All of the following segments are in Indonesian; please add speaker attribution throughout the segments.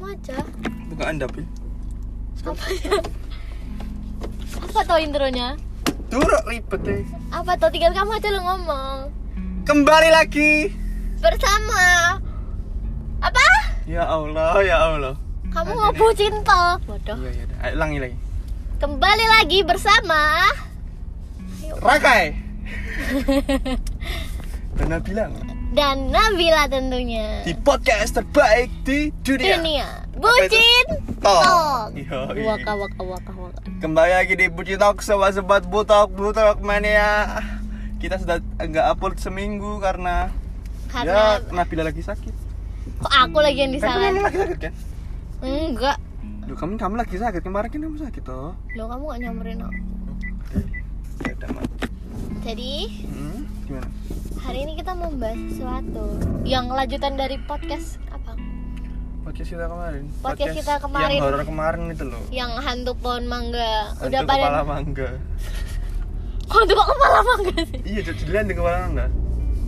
Speaker 1: aja
Speaker 2: Buka anda, Pi.
Speaker 1: apa ya apa tuh intronya
Speaker 2: Turut ribet eh. deh.
Speaker 1: apa tuh tinggal kamu aja lo ngomong
Speaker 2: Kembali lagi.
Speaker 1: bersama apa
Speaker 2: Ya Allah, ya Allah.
Speaker 1: kamu ngobrol cinta bodoh
Speaker 2: Iya, iya. Ayo ulangi lagi.
Speaker 1: kembali lagi bersama
Speaker 2: Rakai. Pernah bilang
Speaker 1: dan Nabila tentunya
Speaker 2: di podcast terbaik di dunia.
Speaker 1: dunia
Speaker 2: ya? Apa itu? Iya.
Speaker 1: bucin
Speaker 2: Tok.
Speaker 1: Tok.
Speaker 2: Yoi.
Speaker 1: waka waka waka waka
Speaker 2: Kembali lagi di Buci Talk sobat-sobat Butok Butok Mania. Kita sudah nggak upload seminggu karena,
Speaker 1: karena
Speaker 2: ya Nabila lagi sakit.
Speaker 1: kok aku lagi yang
Speaker 2: Kan kamu
Speaker 1: disalahin
Speaker 2: lagi sakit kan?
Speaker 1: enggak
Speaker 2: Duh, kamu kamu lagi sakit kemarin kan kamu sakit toh.
Speaker 1: lo kamu gak nyamperin aku
Speaker 2: Ya udah, Mat.
Speaker 1: jadi
Speaker 2: Hmm, gimana?
Speaker 1: Hari ini kita mau membahas sesuatu yang lanjutan dari podcast apa?
Speaker 2: Podcast kita kemarin.
Speaker 1: Podcast kita kemarin.
Speaker 2: Yang horor kemarin itu loh.
Speaker 1: Yang hantu pohon mangga. Udah
Speaker 2: Hantu
Speaker 1: pada
Speaker 2: kepala mangga.
Speaker 1: Kok hantu kok kepala mangga sih?
Speaker 2: Iya, jadi lihat di kepala mangga.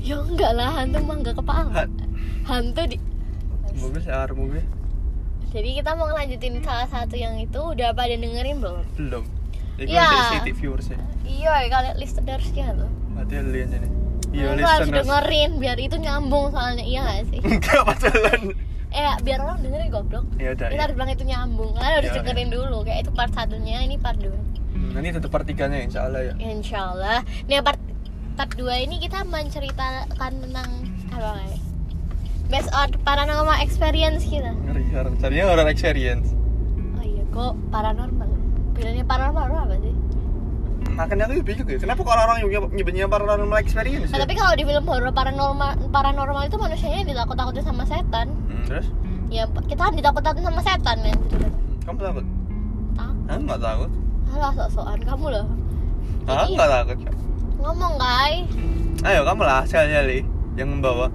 Speaker 1: Ya enggak lah, hantu mangga kepala.
Speaker 2: Hat.
Speaker 1: Hantu di
Speaker 2: Mobil sear mobil
Speaker 1: Jadi kita mau ngelanjutin salah satu yang itu udah pada dengerin belum?
Speaker 2: belum. Jadi
Speaker 1: Iya.
Speaker 2: nanti city ya. viewersnya.
Speaker 1: Iya, kalian listenersnya tuh.
Speaker 2: Berarti lihat ini. Iya,
Speaker 1: Kalian tuh harus
Speaker 2: listeners.
Speaker 1: dengerin biar itu nyambung soalnya iya gak sih?
Speaker 2: Enggak masalah.
Speaker 1: eh, biar orang dengerin goblok.
Speaker 2: Ya udah.
Speaker 1: Kita
Speaker 2: Ya.
Speaker 1: harus bilang itu nyambung. Kalian harus
Speaker 2: Iya, iya.
Speaker 1: dengerin dulu. Kayak itu part satunya, ini part 2.
Speaker 2: Hmm, Nanti tetap pertiganya insyaallah ya.
Speaker 1: Insyaallah. Nih part part 2 ini kita menceritakan tentang apa ya? Based on paranormal experience kita.
Speaker 2: Ngeri horor. Carinya horor experience.
Speaker 1: Oh iya, kok paranormal. Bedanya paranormal itu apa sih?
Speaker 2: Makanya aku bingung ya. Kenapa kok orang-orang nyebut- nyebutnya paranormal experience?
Speaker 1: Nah,
Speaker 2: Ya?
Speaker 1: tapi kalau di film horor paranormal paranormal itu manusianya ditakut-takutin sama setan.
Speaker 2: Hmm, terus
Speaker 1: Ya kita kan ditakut-takutin sama setan men.
Speaker 2: kamu takut?
Speaker 1: Tak.
Speaker 2: Hah, enggak takut.
Speaker 1: Alah sok-sokan kamu loh.
Speaker 2: Hah,
Speaker 1: Iya.
Speaker 2: enggak takut.
Speaker 1: Ngomong, guys.
Speaker 2: Ayo kamu lah sekali-kali yang membawa.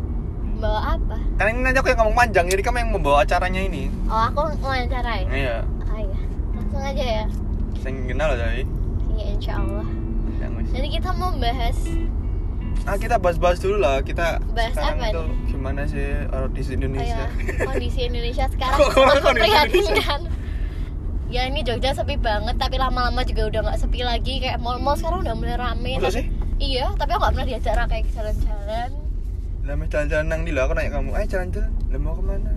Speaker 1: Bawa apa?
Speaker 2: Karena Kan ini nanti aku yang ngomong panjang, jadi kamu yang membawa acaranya ini.
Speaker 1: Oh, aku wawancarai.
Speaker 2: Iya,
Speaker 1: Oh iya. Langsung aja ya.
Speaker 2: saya kenal loh tadi.
Speaker 1: Iya, insyaallah.
Speaker 2: Yang wis.
Speaker 1: Jadi kita mau bahas
Speaker 2: Ah kita bahas-bahas dulu lah kita
Speaker 1: Bahas
Speaker 2: sekarang
Speaker 1: apa
Speaker 2: itu gimana sih orang di
Speaker 1: Oh
Speaker 2: Indonesia?
Speaker 1: ya, kondisi Indonesia sekarang
Speaker 2: Kok- kok
Speaker 1: sangat
Speaker 2: kondisi
Speaker 1: memprihatinkan. Ya ini Jogja sepi banget, tapi lama-lama juga udah nggak sepi lagi. Kayak mall-mall sekarang udah mulai rame.
Speaker 2: Hmm. Masa sih?
Speaker 1: Iya, tapi aku nggak pernah diajak Ra kayak jalan-jalan.
Speaker 2: Lama jalan-jalan nang di lah, aku nanya kamu, eh jalan-jalan, lah mau kemana?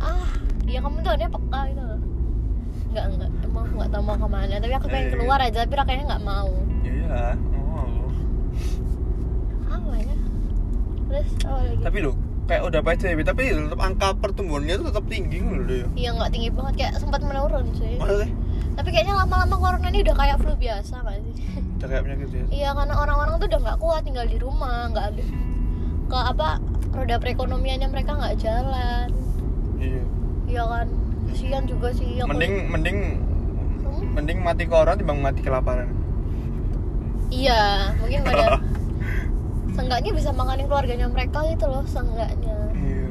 Speaker 1: Ah, ya kamu tuh dia peka gitu. loh. Nggak nggak, emang aku nggak tahu mau kemana. Tapi aku pengen
Speaker 2: Eh.
Speaker 1: keluar aja, tapi Ra kayaknya nggak mau.
Speaker 2: Ya iyalah, oh.
Speaker 1: Apa ya? Terus apa lagi?
Speaker 2: Tapi lo kayak udah PSBB tapi tetap angka pertumbuhannya itu tetap tinggi gitu loh dia.
Speaker 1: Iya nggak tinggi banget, kayak sempat menurun sih.
Speaker 2: Masa sih?
Speaker 1: Tapi kayaknya lama-lama corona ini udah kayak flu biasa nggak sih?
Speaker 2: Udah kayak penyakit ya.
Speaker 1: Iya karena orang-orang tuh udah nggak kuat tinggal di rumah, nggak ada ke apa roda perekonomiannya mereka nggak jalan.
Speaker 2: Iya.
Speaker 1: Iya kan, kasihan juga sih. aku-
Speaker 2: Mending mending
Speaker 1: Hmm?
Speaker 2: mending mati corona dibanding mati kelaparan.
Speaker 1: Iya, mungkin pada seenggaknya bisa makanin keluarganya mereka gitu loh, seenggaknya.
Speaker 2: Iya.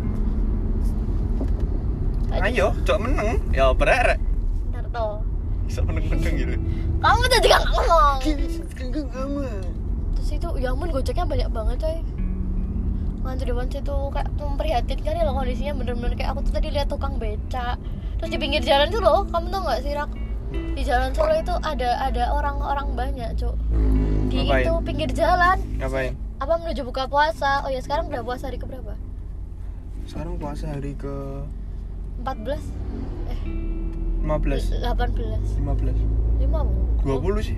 Speaker 1: Aduh.
Speaker 2: Ayo, cok meneng. Ya berere.
Speaker 1: Ntar toh.
Speaker 2: Bisa meneng-meneng gitu.
Speaker 1: Kamu tuh juga nggak ngomong.
Speaker 2: kamu.
Speaker 1: Terus itu, ya ampun gojeknya banyak banget coy. Nganter depan situ kayak memprihatinkan ya loh kondisinya bener-bener kayak aku tuh tadi lihat tukang becak. Terus di pinggir jalan tuh loh, kamu tau nggak sih Rak? di jalan Solo itu ada ada orang-orang banyak cuk di
Speaker 2: Ngapain?
Speaker 1: itu pinggir jalan
Speaker 2: Ngapain?
Speaker 1: apa menuju buka puasa oh ya sekarang udah puasa hari keberapa
Speaker 2: Sekarang puasa hari ke
Speaker 1: 14 eh
Speaker 2: 15
Speaker 1: 18
Speaker 2: 15
Speaker 1: 5
Speaker 2: 20 sih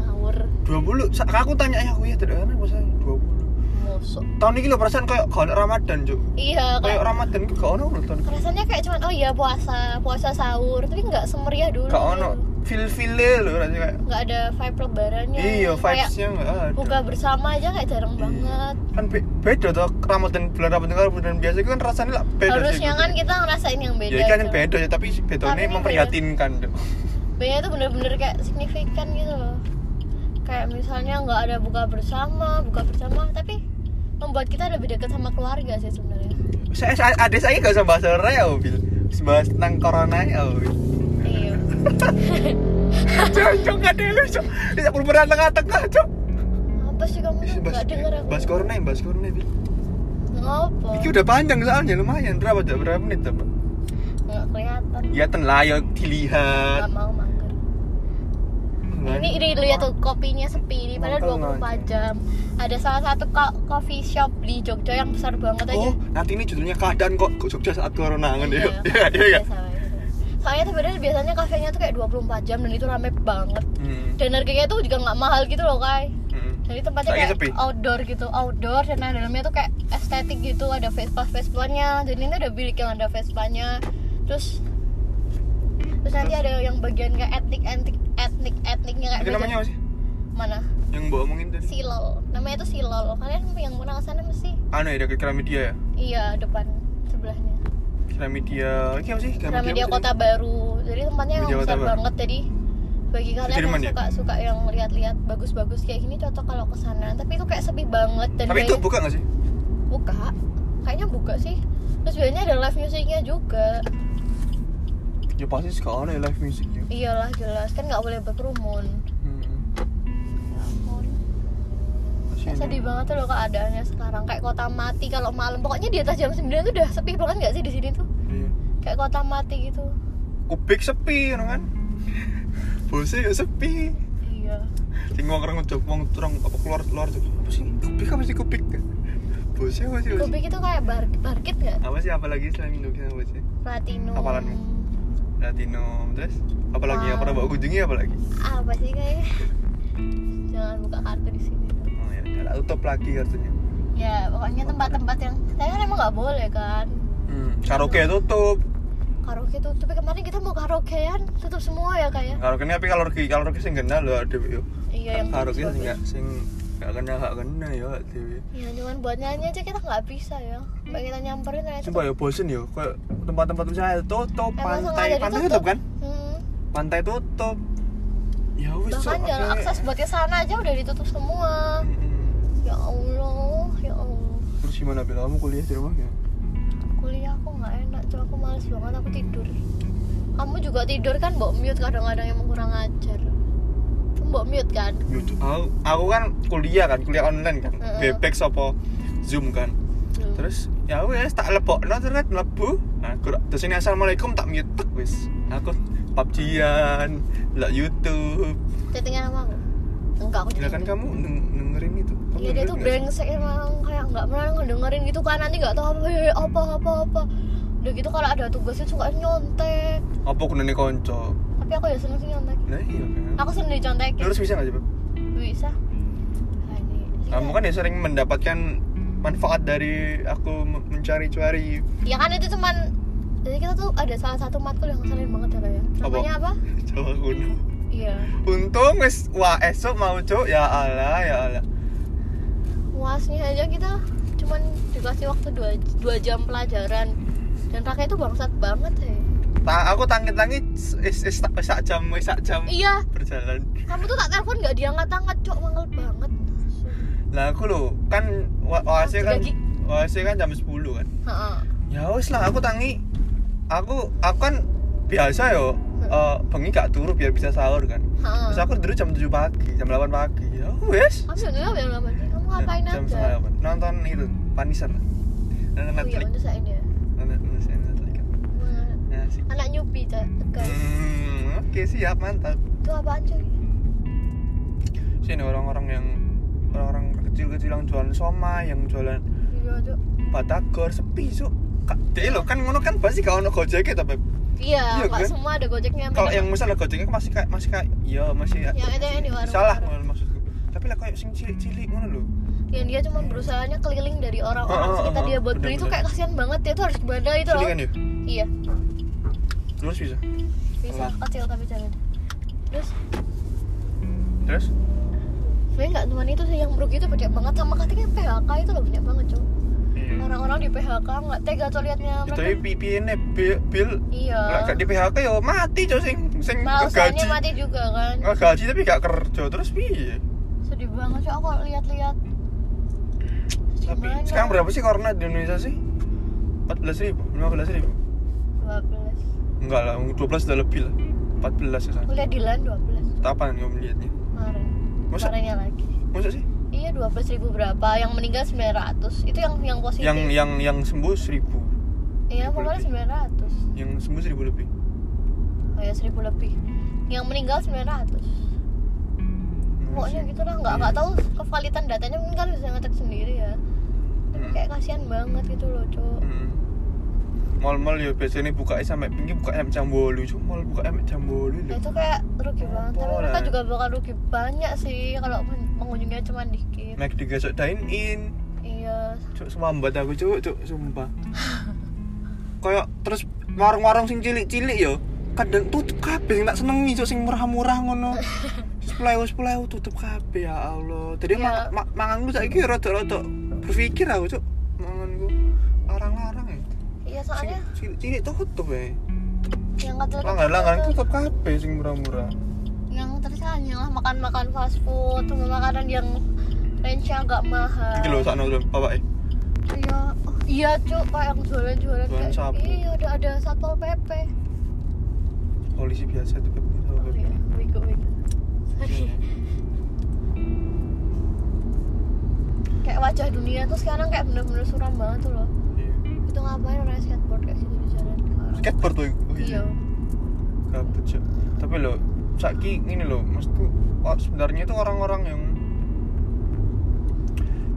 Speaker 1: ngawur
Speaker 2: 20 Sa- aku tanya ya aku ya tidak karena puasa 20
Speaker 1: mosok
Speaker 2: tahun ini lo perasaan kayak gak ada Ramadan cuk
Speaker 1: iya
Speaker 2: kayak
Speaker 1: kayak
Speaker 2: Ramadan itu gak ono lho tahun ini.
Speaker 1: rasanya kayak cuman oh iya puasa puasa sahur tapi nggak semeriah dulu
Speaker 2: gak ono feel feelnya lo rasanya kayak
Speaker 1: nggak ada vibe lebarannya
Speaker 2: iya
Speaker 1: kayak
Speaker 2: vibesnya gak ada
Speaker 1: buka bersama aja kayak jarang
Speaker 2: Iya.
Speaker 1: banget
Speaker 2: kan be- beda tuh Ramadan bulan Ramadan karo bulan biasa itu kan rasanya lah beda sih,
Speaker 1: harusnya
Speaker 2: gitu.
Speaker 1: kan kita ngerasain yang beda
Speaker 2: ya kan
Speaker 1: Cuk.
Speaker 2: beda ya tapi
Speaker 1: Tapi
Speaker 2: bedanya
Speaker 1: ini
Speaker 2: memprihatinkan Cuk.
Speaker 1: bedanya tuh bener-bener kayak signifikan gitu loh kayak misalnya nggak ada buka bersama buka bersama tapi membuat kita lebih dekat sama keluarga sih sebenarnya
Speaker 2: saya saya- adik saya gak usah bahas horor ya mobil bahas tentang corona ya mobil
Speaker 1: iya
Speaker 2: cok cok gak ada lu cok tidak perlu beran tengah-tengah cok
Speaker 1: apa sih kamu tuh nggak denger aku
Speaker 2: bahas corona ya bahas corona ya
Speaker 1: ngopo
Speaker 2: ini udah panjang soalnya lumayan berapa cok berapa menit coba
Speaker 1: nggak kelihatan
Speaker 2: ya ten layak dilihat
Speaker 1: nggak mau mager ini ini lihat tuh kopinya sepi ini padahal
Speaker 2: Mangkel
Speaker 1: 24 jam ada salah satu ko- coffee shop di Jogja yang besar banget aja
Speaker 2: oh nanti ini judulnya keadaan kok kok Jogja saat corona kan
Speaker 1: Iya,
Speaker 2: yuk iya iya iya.
Speaker 1: biasa, biasa. soalnya tuh padahal biasanya kafenya tuh kayak 24 jam dan itu rame banget
Speaker 2: Hmm,
Speaker 1: dan harganya tuh juga nggak mahal gitu loh kai
Speaker 2: hmm.
Speaker 1: jadi tempatnya
Speaker 2: Soalnya
Speaker 1: kayak
Speaker 2: sepi.
Speaker 1: outdoor gitu outdoor dan nah, dalamnya tuh kayak estetik gitu ada Vespa Vespanya jadi ini ada bilik yang ada Vespanya terus terus nanti
Speaker 2: Terus?
Speaker 1: ada yang bagian kayak etnik etnik etnik etniknya kayak
Speaker 2: itu
Speaker 1: bagian-
Speaker 2: namanya apa sih
Speaker 1: mana
Speaker 2: yang mbak omongin tadi
Speaker 1: silol namanya itu silol kalian yang pernah ke sana mesti
Speaker 2: anu ya dekat Gramedia ya
Speaker 1: iya depan sebelahnya
Speaker 2: Gramedia ini apa sih
Speaker 1: Gramedia
Speaker 2: apa sih?
Speaker 1: Kota Baru jadi tempatnya
Speaker 2: Gramedia
Speaker 1: emang
Speaker 2: Kota
Speaker 1: besar
Speaker 2: Baru.
Speaker 1: banget jadi bagi kalian
Speaker 2: Jerman
Speaker 1: yang
Speaker 2: ya?
Speaker 1: suka suka yang lihat-lihat bagus-bagus kayak gini cocok kalau ke sana tapi itu kayak sepi banget dan
Speaker 2: tapi itu
Speaker 1: biaya-
Speaker 2: buka nggak sih
Speaker 1: buka kayaknya buka sih terus biasanya ada live musicnya juga
Speaker 2: ya pasti sekarang ya live music ya
Speaker 1: iyalah jelas kan nggak boleh berkerumun
Speaker 2: Hmm,
Speaker 1: ya ampun
Speaker 2: masih
Speaker 1: kayak
Speaker 2: ini.
Speaker 1: sedih banget tuh loh keadaannya sekarang kayak kota mati kalau malam pokoknya di atas jam 9 tuh udah sepi banget nggak sih di sini tuh
Speaker 2: Iya.
Speaker 1: kayak kota mati gitu
Speaker 2: kubik sepi ngono kan bose ya sepi
Speaker 1: iya
Speaker 2: sing wong orang ngejok wong orang apa keluar keluar tuh apa sih kubik apa sih kubik bose apa Iya sih apa sih?
Speaker 1: Kubik itu kayak bar barkit nggak
Speaker 2: apa sih apa lagi selain kubik apa sih
Speaker 1: Platinum
Speaker 2: Apalan? Latino terus apa lagi yang
Speaker 1: Ah.
Speaker 2: pernah bawa kunjungi apa lagi
Speaker 1: apa sih kayak jangan buka kartu di sini dong.
Speaker 2: oh ya udah lah, tutup lagi kartunya
Speaker 1: ya pokoknya tempat-tempat yang saya kan emang nggak boleh kan
Speaker 2: hmm. karaoke tutup
Speaker 1: karaoke tuh tapi kemarin kita mau karaokean tutup semua ya kayak
Speaker 2: karaoke ini tapi karaoke karaoke sing kenal loh ada yuk
Speaker 1: iya yang
Speaker 2: karaoke sing
Speaker 1: bagus-bagus.
Speaker 2: nggak sing nggak kena nggak kena ya dewi
Speaker 1: ya cuman buat nyanyi aja kita nggak bisa ya Mbak kita nyamperin ternyata
Speaker 2: sumpah ya bosen ya kayak tempat-tempat misalnya tutup
Speaker 1: emang
Speaker 2: pantai
Speaker 1: sengaja
Speaker 2: pantai
Speaker 1: ditutup
Speaker 2: tutup kan
Speaker 1: hmm.
Speaker 2: pantai tutup ya wis
Speaker 1: bahkan
Speaker 2: Cok,
Speaker 1: jalan
Speaker 2: oke.
Speaker 1: akses buat ke sana aja udah ditutup semua
Speaker 2: Mm-mm.
Speaker 1: ya allah ya allah
Speaker 2: terus gimana bila kamu kuliah di rumah ya
Speaker 1: kuliah aku nggak enak cuma aku males banget aku tidur kamu juga tidur kan mbok mute kadang-kadang emang kurang ajar Kamu mbok mute kan
Speaker 2: YouTube aku, aku kan kuliah kan kuliah online kan
Speaker 1: Mm-mm.
Speaker 2: bebek sopo zoom kan
Speaker 1: Hmm.
Speaker 2: terus ya wes tak lepok no terus lebu nah, kur- terus ini assalamualaikum tak mute tek, wes aku PUBG-an, lah YouTube.
Speaker 1: chattingan sama aku enggak aku
Speaker 2: Ya kan
Speaker 1: chattingan
Speaker 2: kamu deng- dengerin itu. Kamu
Speaker 1: Iya dia
Speaker 2: dengerin
Speaker 1: tuh
Speaker 2: nggak sih?
Speaker 1: brengsek emang kayak nggak pernah ngedengerin gitu kan nanti nggak tahu apa "Eh, apa apa apa udah gitu kalau ada tugasnya suka nyontek
Speaker 2: Apa gunanya konco?
Speaker 1: tapi aku ya seneng sih nyontek
Speaker 2: Nah iya kan.
Speaker 1: aku seneng dicontekin
Speaker 2: Lurus bisa nggak sih, Beb?
Speaker 1: bisa nah, ini sih
Speaker 2: Kamu kan ya sering mendapatkan manfaat dari aku men- mencari-cari
Speaker 1: ya kan itu cuman jadi kita tuh ada salah satu matkul yang ngeselin banget ya kayak
Speaker 2: Apa?
Speaker 1: namanya apa
Speaker 2: cowok kuno.
Speaker 1: iya
Speaker 2: Untung wes wah esok mau cuk ya Allah ya Allah.
Speaker 1: uasnya aja kita cuman dikasih waktu dua, dua jam pelajaran dan kakek itu bangsat banget ya
Speaker 2: Ta aku tangit-tangit is is tak sak jam wis sak jam
Speaker 1: iya
Speaker 2: berjalan.
Speaker 1: kamu tuh tak telepon nggak diangkat-angkat cok mangel banget
Speaker 2: Lah aku lo kan wa- waasnya kan
Speaker 1: Lagi.
Speaker 2: waasnya kan jam 10 kan.
Speaker 1: Heeh.
Speaker 2: Ya wes lah aku tangi. Aku aku kan biasa yo eh, bengi gak turu biar bisa sahur kan.
Speaker 1: Heeh.
Speaker 2: Terus aku tidur jam 7 pagi, jam 8 pagi. Ya wes.
Speaker 1: kamu jangan gelap ya lama sih kamu ngapain
Speaker 2: jam
Speaker 1: aja
Speaker 2: setengah delapan. Nonton itu panisan. Nonton
Speaker 1: oh iya
Speaker 2: Netflix.
Speaker 1: untuk saat ini ya
Speaker 2: Nonton Netflix.
Speaker 1: Wah,
Speaker 2: Nah, sih.
Speaker 1: anak nyupi cok guys
Speaker 2: Hmm, oke siap mantap.
Speaker 1: itu apaan cuy
Speaker 2: Sini orang-orang yang orang-orang kecil-kecil yang jualan somai, yang jualan
Speaker 1: iya cok
Speaker 2: batagor sepi so. Kak, deh lo kan ngono kan pasti kalau ono gojek tapi
Speaker 1: iya
Speaker 2: Iya,
Speaker 1: nggak
Speaker 2: kan?
Speaker 1: semua ada gojeknya
Speaker 2: kalau
Speaker 1: Mereka-
Speaker 2: yang misalnya gojeknya kan masih kayak masih kayak iya masih
Speaker 1: Yang ada yang di warung-
Speaker 2: salah
Speaker 1: warung.
Speaker 2: maksudku. Tapi lah kayak sing cilik-cilik ngono lho.
Speaker 1: yang dia cuma berusahanya keliling dari orang-orang
Speaker 2: Oh, oh,
Speaker 1: sekitar
Speaker 2: oh,
Speaker 1: dia buat beli itu
Speaker 2: bener-bener.
Speaker 1: kayak kasihan banget dia tuh harus bandel itu loh
Speaker 2: Cilik kan ya?
Speaker 1: iya
Speaker 2: Terus bisa.
Speaker 1: bisa
Speaker 2: Apa?
Speaker 1: kecil tapi jangan terus
Speaker 2: Terus
Speaker 1: sebenarnya nggak cuma itu sih yang broke itu banyak banget sama katanya yang PHK itu loh banyak banget cok
Speaker 2: iya.
Speaker 1: orang-orang di PHK nggak tega cok liatnya
Speaker 2: Itu ya,
Speaker 1: mereka
Speaker 2: pipi-pipine bil bil
Speaker 1: iya
Speaker 2: lah gak di PHK yo ya, mati cok sing sing
Speaker 1: Malesannya
Speaker 2: gaji.
Speaker 1: mati juga kan
Speaker 2: Gaji tapi gak kerja terus piye?
Speaker 1: sedih banget cok aku kalau lihat-lihat
Speaker 2: Tapi
Speaker 1: Gimana?
Speaker 2: sekarang berapa sih corona di Indonesia sih? 14 ribu, 15 ribu?
Speaker 1: 12
Speaker 2: Enggak lah, 12 udah lebih lah 14 ya sana
Speaker 1: aku lihat di LAN 12
Speaker 2: Kapan kamu melihatnya?
Speaker 1: kemarin
Speaker 2: Masa,
Speaker 1: kemarinnya lagi
Speaker 2: masa sih?
Speaker 1: iya 12.000 ribu berapa yang meninggal 900 itu yang yang positif
Speaker 2: Yang yang yang sembuh 1000
Speaker 1: Iya,
Speaker 2: Seribu
Speaker 1: pokoknya
Speaker 2: lebih.
Speaker 1: 900
Speaker 2: yang sembuh seribu lebih
Speaker 1: Oh ya 1000 lebih Yang meninggal 900 Pokoknya
Speaker 2: Iya.
Speaker 1: gitu lah, nggak nggak tahu kevalitan datanya mungkin kalian bisa ngecek sendiri ya
Speaker 2: Mm.
Speaker 1: Kayak kasihan banget gitu loh, Cuk
Speaker 2: Mm. Mall-mall ya biasanya buka sampai pinggir buka sampai jam 8 cuma mall buka sampai jam 8
Speaker 1: Nah,
Speaker 2: lho.
Speaker 1: itu kayak rugi banget, tapi
Speaker 2: Boleh.
Speaker 1: mereka juga bakal rugi banyak sih kalau pen- pengunjungnya cuma dikit
Speaker 2: Mac digesok dine in.
Speaker 1: Iya,
Speaker 2: Cuk semambat aku cuk, cuk sumpah. Kayak terus warung-warung sing cilik-cilik ya kadang tutup kabeh sing tak senengi cuk sing murah-murah ngono. 10.000 10.000 tutup kabeh ya Allah. Jadi
Speaker 1: Iya.
Speaker 2: ma- ma- manganku saiki rada-rada berpikir aku cuk manganku larang-larang ya.
Speaker 1: iya
Speaker 2: Sing
Speaker 1: soalnya
Speaker 2: cilik-cilik tutup ya.
Speaker 1: yang kecil
Speaker 2: Langgar-langgar tutup kabeh sing murah-murah.
Speaker 1: yang tersayang lah makan-makan fast food, sama makanan yang range-nya agak mahal
Speaker 2: Iki lho sakno lho bapake.
Speaker 1: Iya, oh, iya Cuk, kayak yang jualan-jualan
Speaker 2: Jualan
Speaker 1: kayak
Speaker 2: sapu.
Speaker 1: Iya, udah ada Satpol PP
Speaker 2: Polisi biasa tuh Beb. Sama
Speaker 1: Oh
Speaker 2: Beb.
Speaker 1: iya, wigo-wigo
Speaker 2: Iya.
Speaker 1: Sorry kayak wajah dunia tuh sekarang kayak bener-bener suram banget tuh loh
Speaker 2: Iya.
Speaker 1: itu ngapain orang skateboard kayak gitu di jalan sekarang
Speaker 2: Skateboard tuh. oh
Speaker 1: iya
Speaker 2: Kabut Cuk. Tapi lo saiki ngene lo, maksudku oh, sebenarnya itu orang-orang yang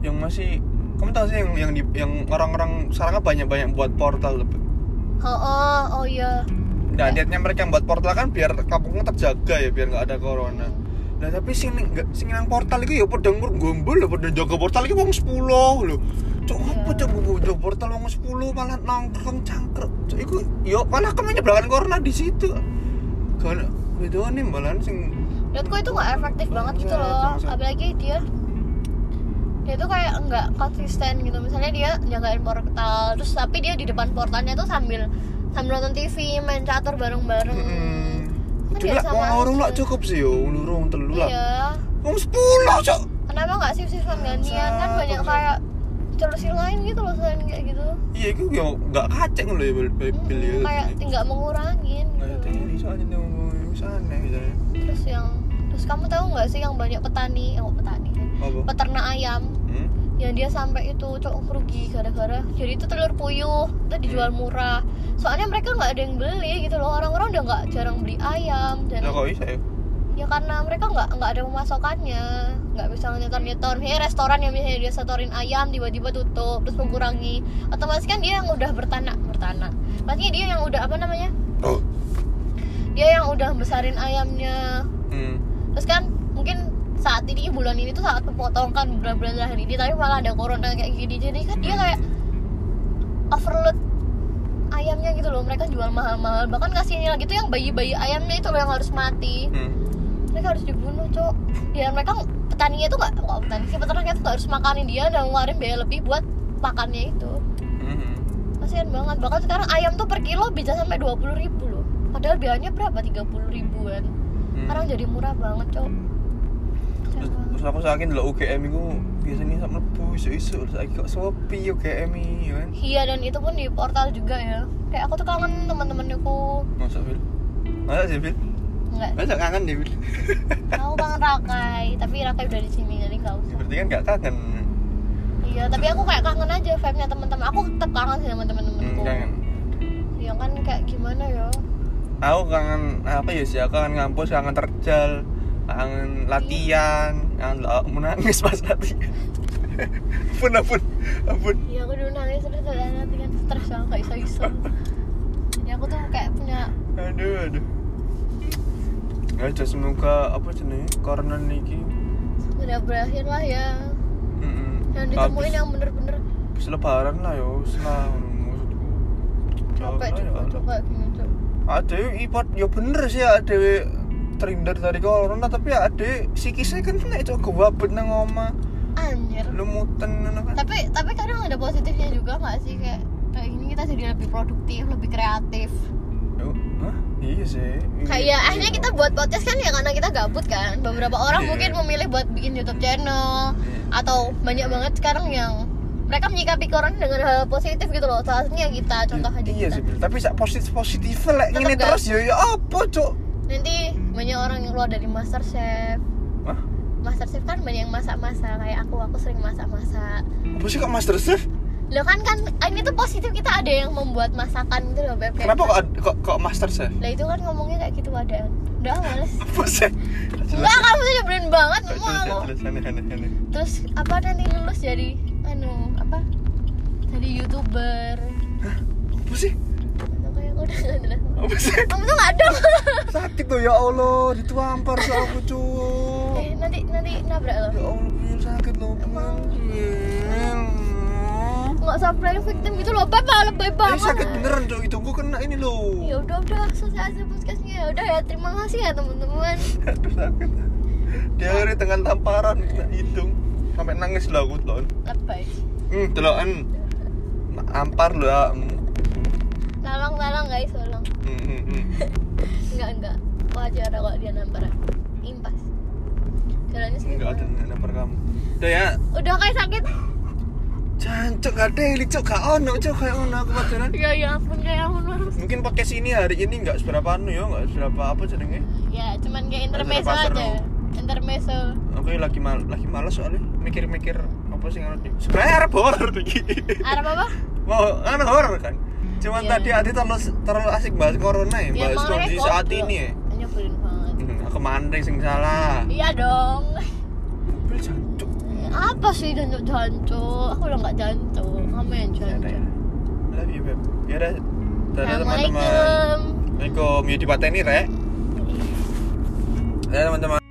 Speaker 2: yang masih kamu tahu sih yang yang di, yang orang-orang sekarang kan banyak-banyak buat portal loh. Beb.
Speaker 1: oh oh, oh iya
Speaker 2: Nah, niatnya mereka buat portal kan biar kampungnya terjaga ya, biar nggak ada corona. Nah, tapi sing nggak sing nang portal itu ya padha ngur gombol lho, padha jaga portal iki wong 10 lho. Cuk,
Speaker 1: Iya.
Speaker 2: apa cuk nggo- jaga portal wong 10 malah nongkrong cangkruk. Cuk, iku yo malah kemenya belakangan corona di situ. Kan bedone malah sing
Speaker 1: menurutku itu nggak efektif banget gitu loh
Speaker 2: Bangsat.
Speaker 1: apalagi dia dia tuh kayak nggak konsisten gitu misalnya dia jagain portal terus tapi dia di depan portalnya tuh sambil sambil nonton TV main catur bareng-bareng
Speaker 2: hmm.
Speaker 1: Kan
Speaker 2: Cuk,
Speaker 1: ya
Speaker 2: lah,
Speaker 1: sama
Speaker 2: wong loro lah
Speaker 1: aja.
Speaker 2: cukup sih yo, wong loro wong telu lah.
Speaker 1: iya
Speaker 2: Wong 10 cuk.
Speaker 1: kenapa nggak sip-sipan gantian kan
Speaker 2: Bangsat,
Speaker 1: banyak
Speaker 2: bangsat.
Speaker 1: kayak solusi lain gitu loh selain kayak gitu
Speaker 2: Iya, iku yo nggak kacek lho ya Beb- Beb- Beb-
Speaker 1: Mm,
Speaker 2: ya.
Speaker 1: kayak nggak mengurangin
Speaker 2: Kayak
Speaker 1: gitu loh.
Speaker 2: tadi soalnya dia ngomong wis aneh gitu. ya.
Speaker 1: terus yang terus kamu tahu nggak sih yang banyak petani yang petani
Speaker 2: Apa?
Speaker 1: peternak ayam
Speaker 2: Hmm?
Speaker 1: yang dia sampai itu cok rugi gara-gara jadi itu telur puyuh itu dijual
Speaker 2: Hmm.
Speaker 1: murah soalnya mereka nggak ada yang beli gitu loh orang-orang udah nggak jarang beli ayam dan
Speaker 2: Lah kok bisa ya?
Speaker 1: ya karena mereka nggak nggak ada pemasokannya nggak bisa nyetor nyetor misalnya restoran yang biasanya dia setorin ayam tiba-tiba tutup
Speaker 2: Hmm.
Speaker 1: terus mengurangi otomatis kan dia yang udah bertanak bertanak maksudnya dia yang udah apa namanya
Speaker 2: Oh.
Speaker 1: dia yang udah besarin ayamnya
Speaker 2: Hmm.
Speaker 1: terus kan mungkin saat ini bulan ini tuh saat pemotongan bulan-bulan terakhir ini tapi malah ada corona kayak gini jadi kan dia kayak overload ayamnya gitu loh mereka jual mahal-mahal bahkan kasihnya lagi tuh yang bayi-bayi ayamnya itu loh yang harus mati
Speaker 2: Hmm.
Speaker 1: mereka harus dibunuh cok dan mereka petaninya tuh nggak kok petani sih peternaknya tuh nggak harus makanin dia dan ngeluarin biaya lebih buat pakannya itu
Speaker 2: Mhm.
Speaker 1: kasihan banget bahkan sekarang ayam tuh per kilo bisa sampai dua puluh ribu loh padahal biayanya berapa tiga puluh ribuan
Speaker 2: Hmm.
Speaker 1: sekarang jadi murah banget cok Kasihan
Speaker 2: Terus,
Speaker 1: banget.
Speaker 2: terus aku saking delok UGM itu biasanya sak mlebu isu-isu terus saiki kok sepi UGM iki ya kan.
Speaker 1: iya dan itu pun di portal juga ya kayak aku tuh kangen teman-teman aku
Speaker 2: Masa Bil? Masa sih Bil?
Speaker 1: nggak
Speaker 2: Masa kangen deh Bil?
Speaker 1: aku kangen Rakai tapi Rakai udah di sini jadi nggak
Speaker 2: Ya,
Speaker 1: usah
Speaker 2: berarti kan gak kangen.
Speaker 1: iya tapi aku kayak kangen aja vibe nya teman-teman aku tetap kangen sih sama
Speaker 2: Hmm,
Speaker 1: teman-temanku
Speaker 2: kangen.
Speaker 1: ya kan kayak gimana ya
Speaker 2: Aku kangen apa ya sih? Aku kangen ngampus, kangen terjal, kangen latihan, kangen delok- aku menangis pas latihan. ampun ampun ampun.
Speaker 1: Iya aku dulu nangis terus ada nanti kan stres banget gak iso iso. Ya aku tuh kayak punya
Speaker 2: Aduh aduh. Ya udah, semoga apa jenenge corona niki.
Speaker 1: udah berakhir lah ya.
Speaker 2: Heeh.
Speaker 1: Yang ditemuin ya, yang bener-bener
Speaker 2: Habis lebaran lah yo, setelah maksudku.
Speaker 1: capek
Speaker 2: Oh,
Speaker 1: juga coba gini tuh.
Speaker 2: Ada ipot yo bener sih ada terhindar dari corona tapi ada psikisnya kan kena itu gawabet nang oma
Speaker 1: Anjir.
Speaker 2: lumutan ngono kan.
Speaker 1: Tapi tapi kadang ada positifnya juga nggak sih kayak kayak gini kita jadi lebih produktif, lebih kreatif.
Speaker 2: Yo, Hah? Iya sih. Iya.
Speaker 1: Kayak akhirnya kita buat podcast kan ya karena kita gabut kan. Beberapa orang
Speaker 2: Iya.
Speaker 1: mungkin memilih buat bikin YouTube channel atau banyak banget sekarang yang mereka menyikapi corona dengan hal positif gitu loh. Salah satunya kita contoh aja kita.
Speaker 2: Iya sih, Bil. tapi sak positif positif lek
Speaker 1: Tetep
Speaker 2: ngene
Speaker 1: gak?
Speaker 2: terus yo yo apa, Cuk?
Speaker 1: nanti banyak orang yang keluar dari master chef
Speaker 2: Hah?
Speaker 1: master chef kan banyak yang masak-masak kayak aku aku sering masak-masak
Speaker 2: Apa sih kok Master Chef?
Speaker 1: Loh kan kan ini tuh positif kita ada yang membuat masakan gitu loh Beb Kayak-
Speaker 2: Kenapa kok ad- kok kok master chef?
Speaker 1: Lah itu kan ngomongnya kayak gitu adaan Udah males
Speaker 2: Apa chef?
Speaker 1: Enggak kamu tuh nyebelin banget
Speaker 2: Gak
Speaker 1: mau
Speaker 2: jelas, gak
Speaker 1: mau
Speaker 2: jelas, aneh, aneh, aneh.
Speaker 1: Terus apa nanti lulus jadi Anu apa Jadi youtuber
Speaker 2: Apa sih?
Speaker 1: Itu kayak udah gak jelas
Speaker 2: Apa sih?
Speaker 1: Kamu tuh gak ada
Speaker 2: Sakit tuh ya Allah, ditampar sama aku cu.
Speaker 1: Eh nanti nanti nabrak loh
Speaker 2: Ya Allah, pengen sakit loh, pengen.
Speaker 1: nggak usah playing victim gitu loh bye bye lebay
Speaker 2: Ini
Speaker 1: banget
Speaker 2: sakit beneran tuh, itu gue kena ini loh.
Speaker 1: ya udah udah selesai aja podcastnya ya udah ya terima kasih ya teman-teman
Speaker 2: Aduh sakit. Dia hari dengan tamparan kena hidung sampai nangis loh aku tuh.
Speaker 1: lebay
Speaker 2: Hmm, delokan. Ampar loh. ya. Hmm,
Speaker 1: tolong tolong guys tolong
Speaker 2: hmm, hmm, hmm.
Speaker 1: enggak enggak wajar kalau dia nampar impas jalannya sendiri
Speaker 2: Enggak ada yang nampar kamu. Udah ya,
Speaker 1: udah kayak sakit
Speaker 2: Jancuk gak ada eli cuk gak ono cuk kayak ono aku pacaran.
Speaker 1: ya ya ampun kayak ampun harus
Speaker 2: Mungkin podcast ini hari ini nggak seberapa anu ya, nggak seberapa apa jenenge.
Speaker 1: ya cuman kayak
Speaker 2: Harus ada
Speaker 1: intermezzo
Speaker 2: pasar
Speaker 1: aja
Speaker 2: dong.
Speaker 1: intermezzo
Speaker 2: Aku lagi mal lagi malas soalnya mikir-mikir apa sih ngono. Sebenarnya arep horor iki.
Speaker 1: Arab apa
Speaker 2: Mau anu horor kan. Cuman
Speaker 1: Iya.
Speaker 2: tadi Adi terlalu terlalu asik bahas corona ya, bahas kondisi
Speaker 1: makanya
Speaker 2: saat
Speaker 1: goblok.
Speaker 2: ini ya.
Speaker 1: nyebelin banget
Speaker 2: Hmm, Aku mandeng sing salah.
Speaker 1: iya dong Iya.
Speaker 2: Mobil jancuk.
Speaker 1: apa sih jancuk jancuk aku udah nggak jancuk kamu yang
Speaker 2: Ya udah,
Speaker 1: jancuk
Speaker 2: ya. Love you, babe. Ya udah. Dadah teman-teman.
Speaker 1: Assalamualaikum. Iya.
Speaker 2: Assalamualaikum. Ya dipateni, Rek. Dadah teman-teman.